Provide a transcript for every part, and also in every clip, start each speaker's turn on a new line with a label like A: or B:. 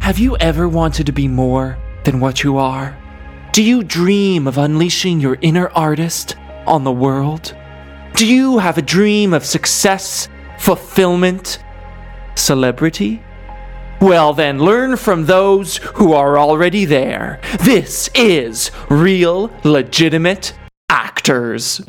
A: Have you ever wanted to be more than what you are? Do you dream of unleashing your inner artist on the world? Do you have a dream of success, fulfillment, celebrity? Well, then, learn from those who are already there. This is Real Legitimate Actors.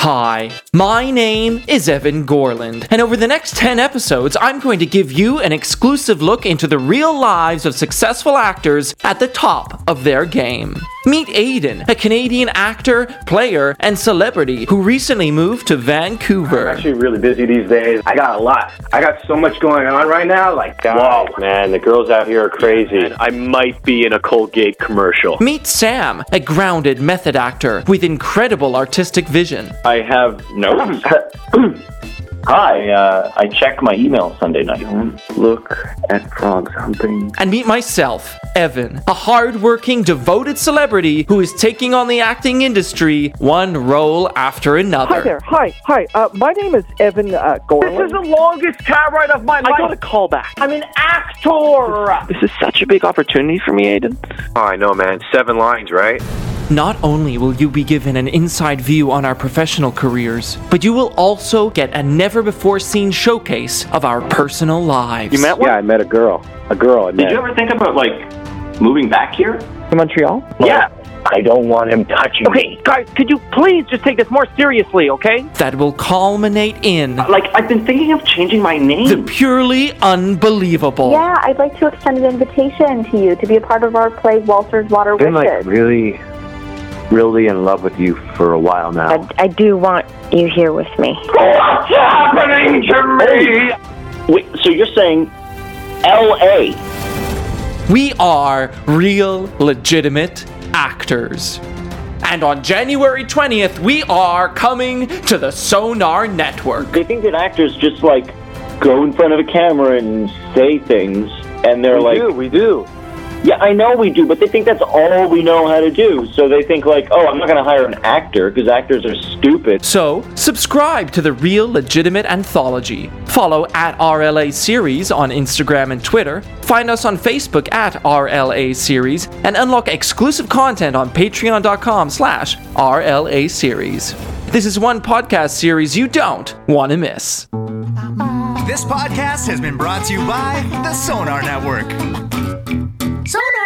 A: Hi, my name is Evan Gorland, and over the next 10 episodes, I'm going to give you an exclusive look into the real lives of successful actors at the top of their game. Meet Aiden, a Canadian actor, player, and celebrity who recently moved to Vancouver.
B: I'm actually really busy these days. I got a lot. I got so much going on right now. Like, uh,
C: Wow,
B: God,
C: man, the girls out here are crazy. I might be in a Colgate commercial.
A: Meet Sam, a grounded method actor with incredible artistic vision.
C: I have no.
D: Hi, uh, I checked my email Sunday night.
B: look at frogs humping.
A: And meet myself, Evan, a hardworking, devoted celebrity who is taking on the acting industry one role after another.
E: Hi there. Hi. Hi. Uh, my name is Evan uh, Gorland.
B: This is the longest car ride of my life.
F: I got a call back.
B: I'm an actor.
F: This is such a big opportunity for me, Aiden.
C: Oh, I know, man. Seven lines, right?
A: Not only will you be given an inside view on our professional careers, but you will also get a never before seen showcase of our personal lives.
F: You met one?
B: Yeah, I met a girl. A girl I
D: Did
B: met.
D: you ever think about like moving back here?
F: From Montreal?
D: Yeah. I don't want him touching
F: Okay,
D: me.
F: guys, could you please just take this more seriously, okay?
A: that will culminate in
D: Like I've been thinking of changing my
A: the
D: name.
A: purely unbelievable.
G: Yeah, I'd like to extend an invitation to you to be a part of our play, Walter's Water
H: been like
G: Wishes.
H: really, really in love with you for a while now.
G: I, I do want you here with me.
D: What's happening to me? Wait, so you're saying L.A.
A: We are real, legitimate actors. And on January 20th, we are coming to the Sonar Network.
D: They think that actors just like go in front of a camera and say things, and they're
B: We
D: like,
B: do, we do.
D: Yeah, I know we do, but they think that's all we know how to do. So they think like, oh, I'm not going to hire an actor because actors are stupid.
A: So, subscribe to the Real Legitimate Anthology. Follow at RLA Series on Instagram and Twitter. Find us on Facebook at RLA Series and unlock exclusive content on patreon.com slash RLA Series. This is one podcast series you don't want to miss.
I: This podcast has been brought to you by the Sonar Network.
J: Sonar!